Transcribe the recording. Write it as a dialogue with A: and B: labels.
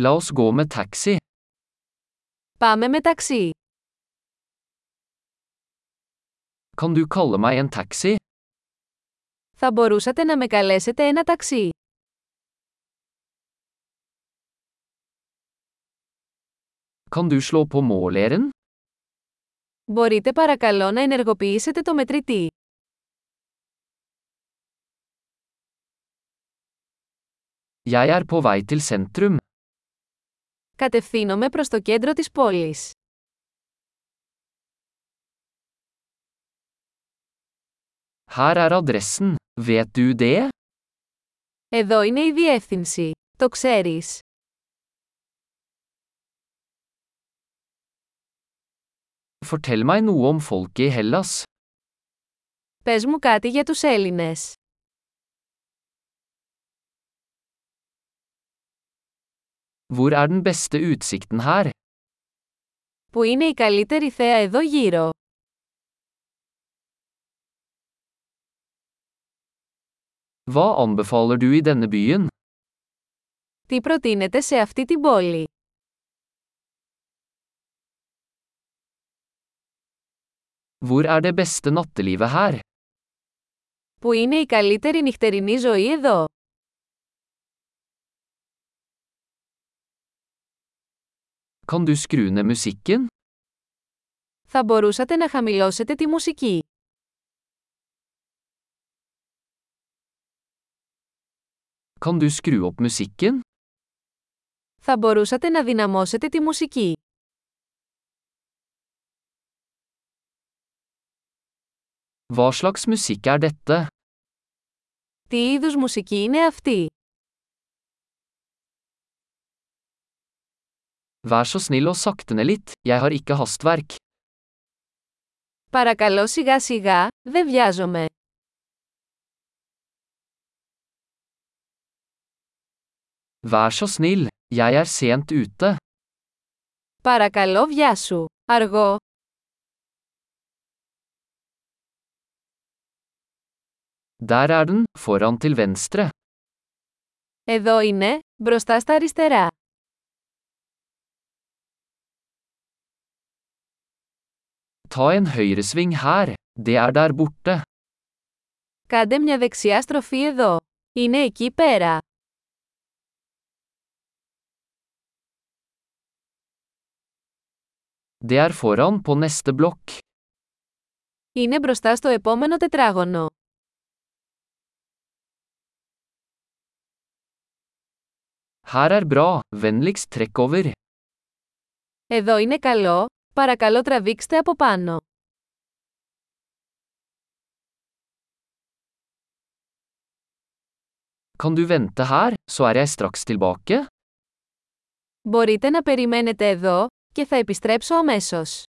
A: La oss gå med taxi.
B: Πάμε με ταξί.
A: Kan du kalle meg en taxi?
B: Θα μπορούσατε να με καλέσετε ένα ταξί.
A: Kan du slå på måleren?
B: Μπορείτε παρακαλώ να ενεργοποιήσετε το μετρητή.
A: Jeg er på vei til sentrum.
B: Κατευθύνομαι προς το κέντρο της πόλης.
A: Her er adressen. Vet du det?
B: Εδώ είναι η διεύθυνση. Το ξέρεις.
A: Fortell meg noe om folket i Hellas.
B: Πες μου κάτι για τους Έλληνες.
A: Hvor er den beste utsikten her?
B: Που είναι η καλύτερη θέα εδώ γύρω.
A: Hva anbefaler du i denne byen?
B: Τι προτείνετε σε αυτή την πόλη.
A: Hvor er det beste nattelivet her?
B: Που είναι η καλύτερη νυχτερινή ζωή εδώ.
A: Kan du skru ned musikken?
B: Θα μπορούσατε να χαμηλώσετε τη μουσική.
A: Kan du skru opp musikken?
B: Θα μπορούσατε να δυναμώσετε τη μουσική.
A: Hva slags musikk er dette?
B: Τι είδους μουσική είναι αυτή.
A: Vær så snill og sakte ned litt, jeg har ikke hastverk.
B: Παρακαλώ σιγά σιγά, δεν βιάζομαι.
A: Vær så snill, jeg er sent ute.
B: Παρακαλώ βιάσου. Αργό.
A: Der er den, foran til venstre.
B: Εδώ είναι, μπροστά στα αριστερά.
A: Ta en høyresving her, det er der borte.
B: Κάντε μια δεξιά στροφή εδώ. Είναι εκεί πέρα.
A: Det er foran på neste blokk.
B: Είναι μπροστά στο επόμενο τετράγωνο.
A: Her er bra, vennligst trekk over.
B: Εδώ είναι καλό, παρακαλώ τραβήξτε από πάνω.
A: Kan du vente her, så er jeg straks tilbake?
B: Μπορείτε να περιμένετε εδώ, και θα επιστρέψω αμέσως.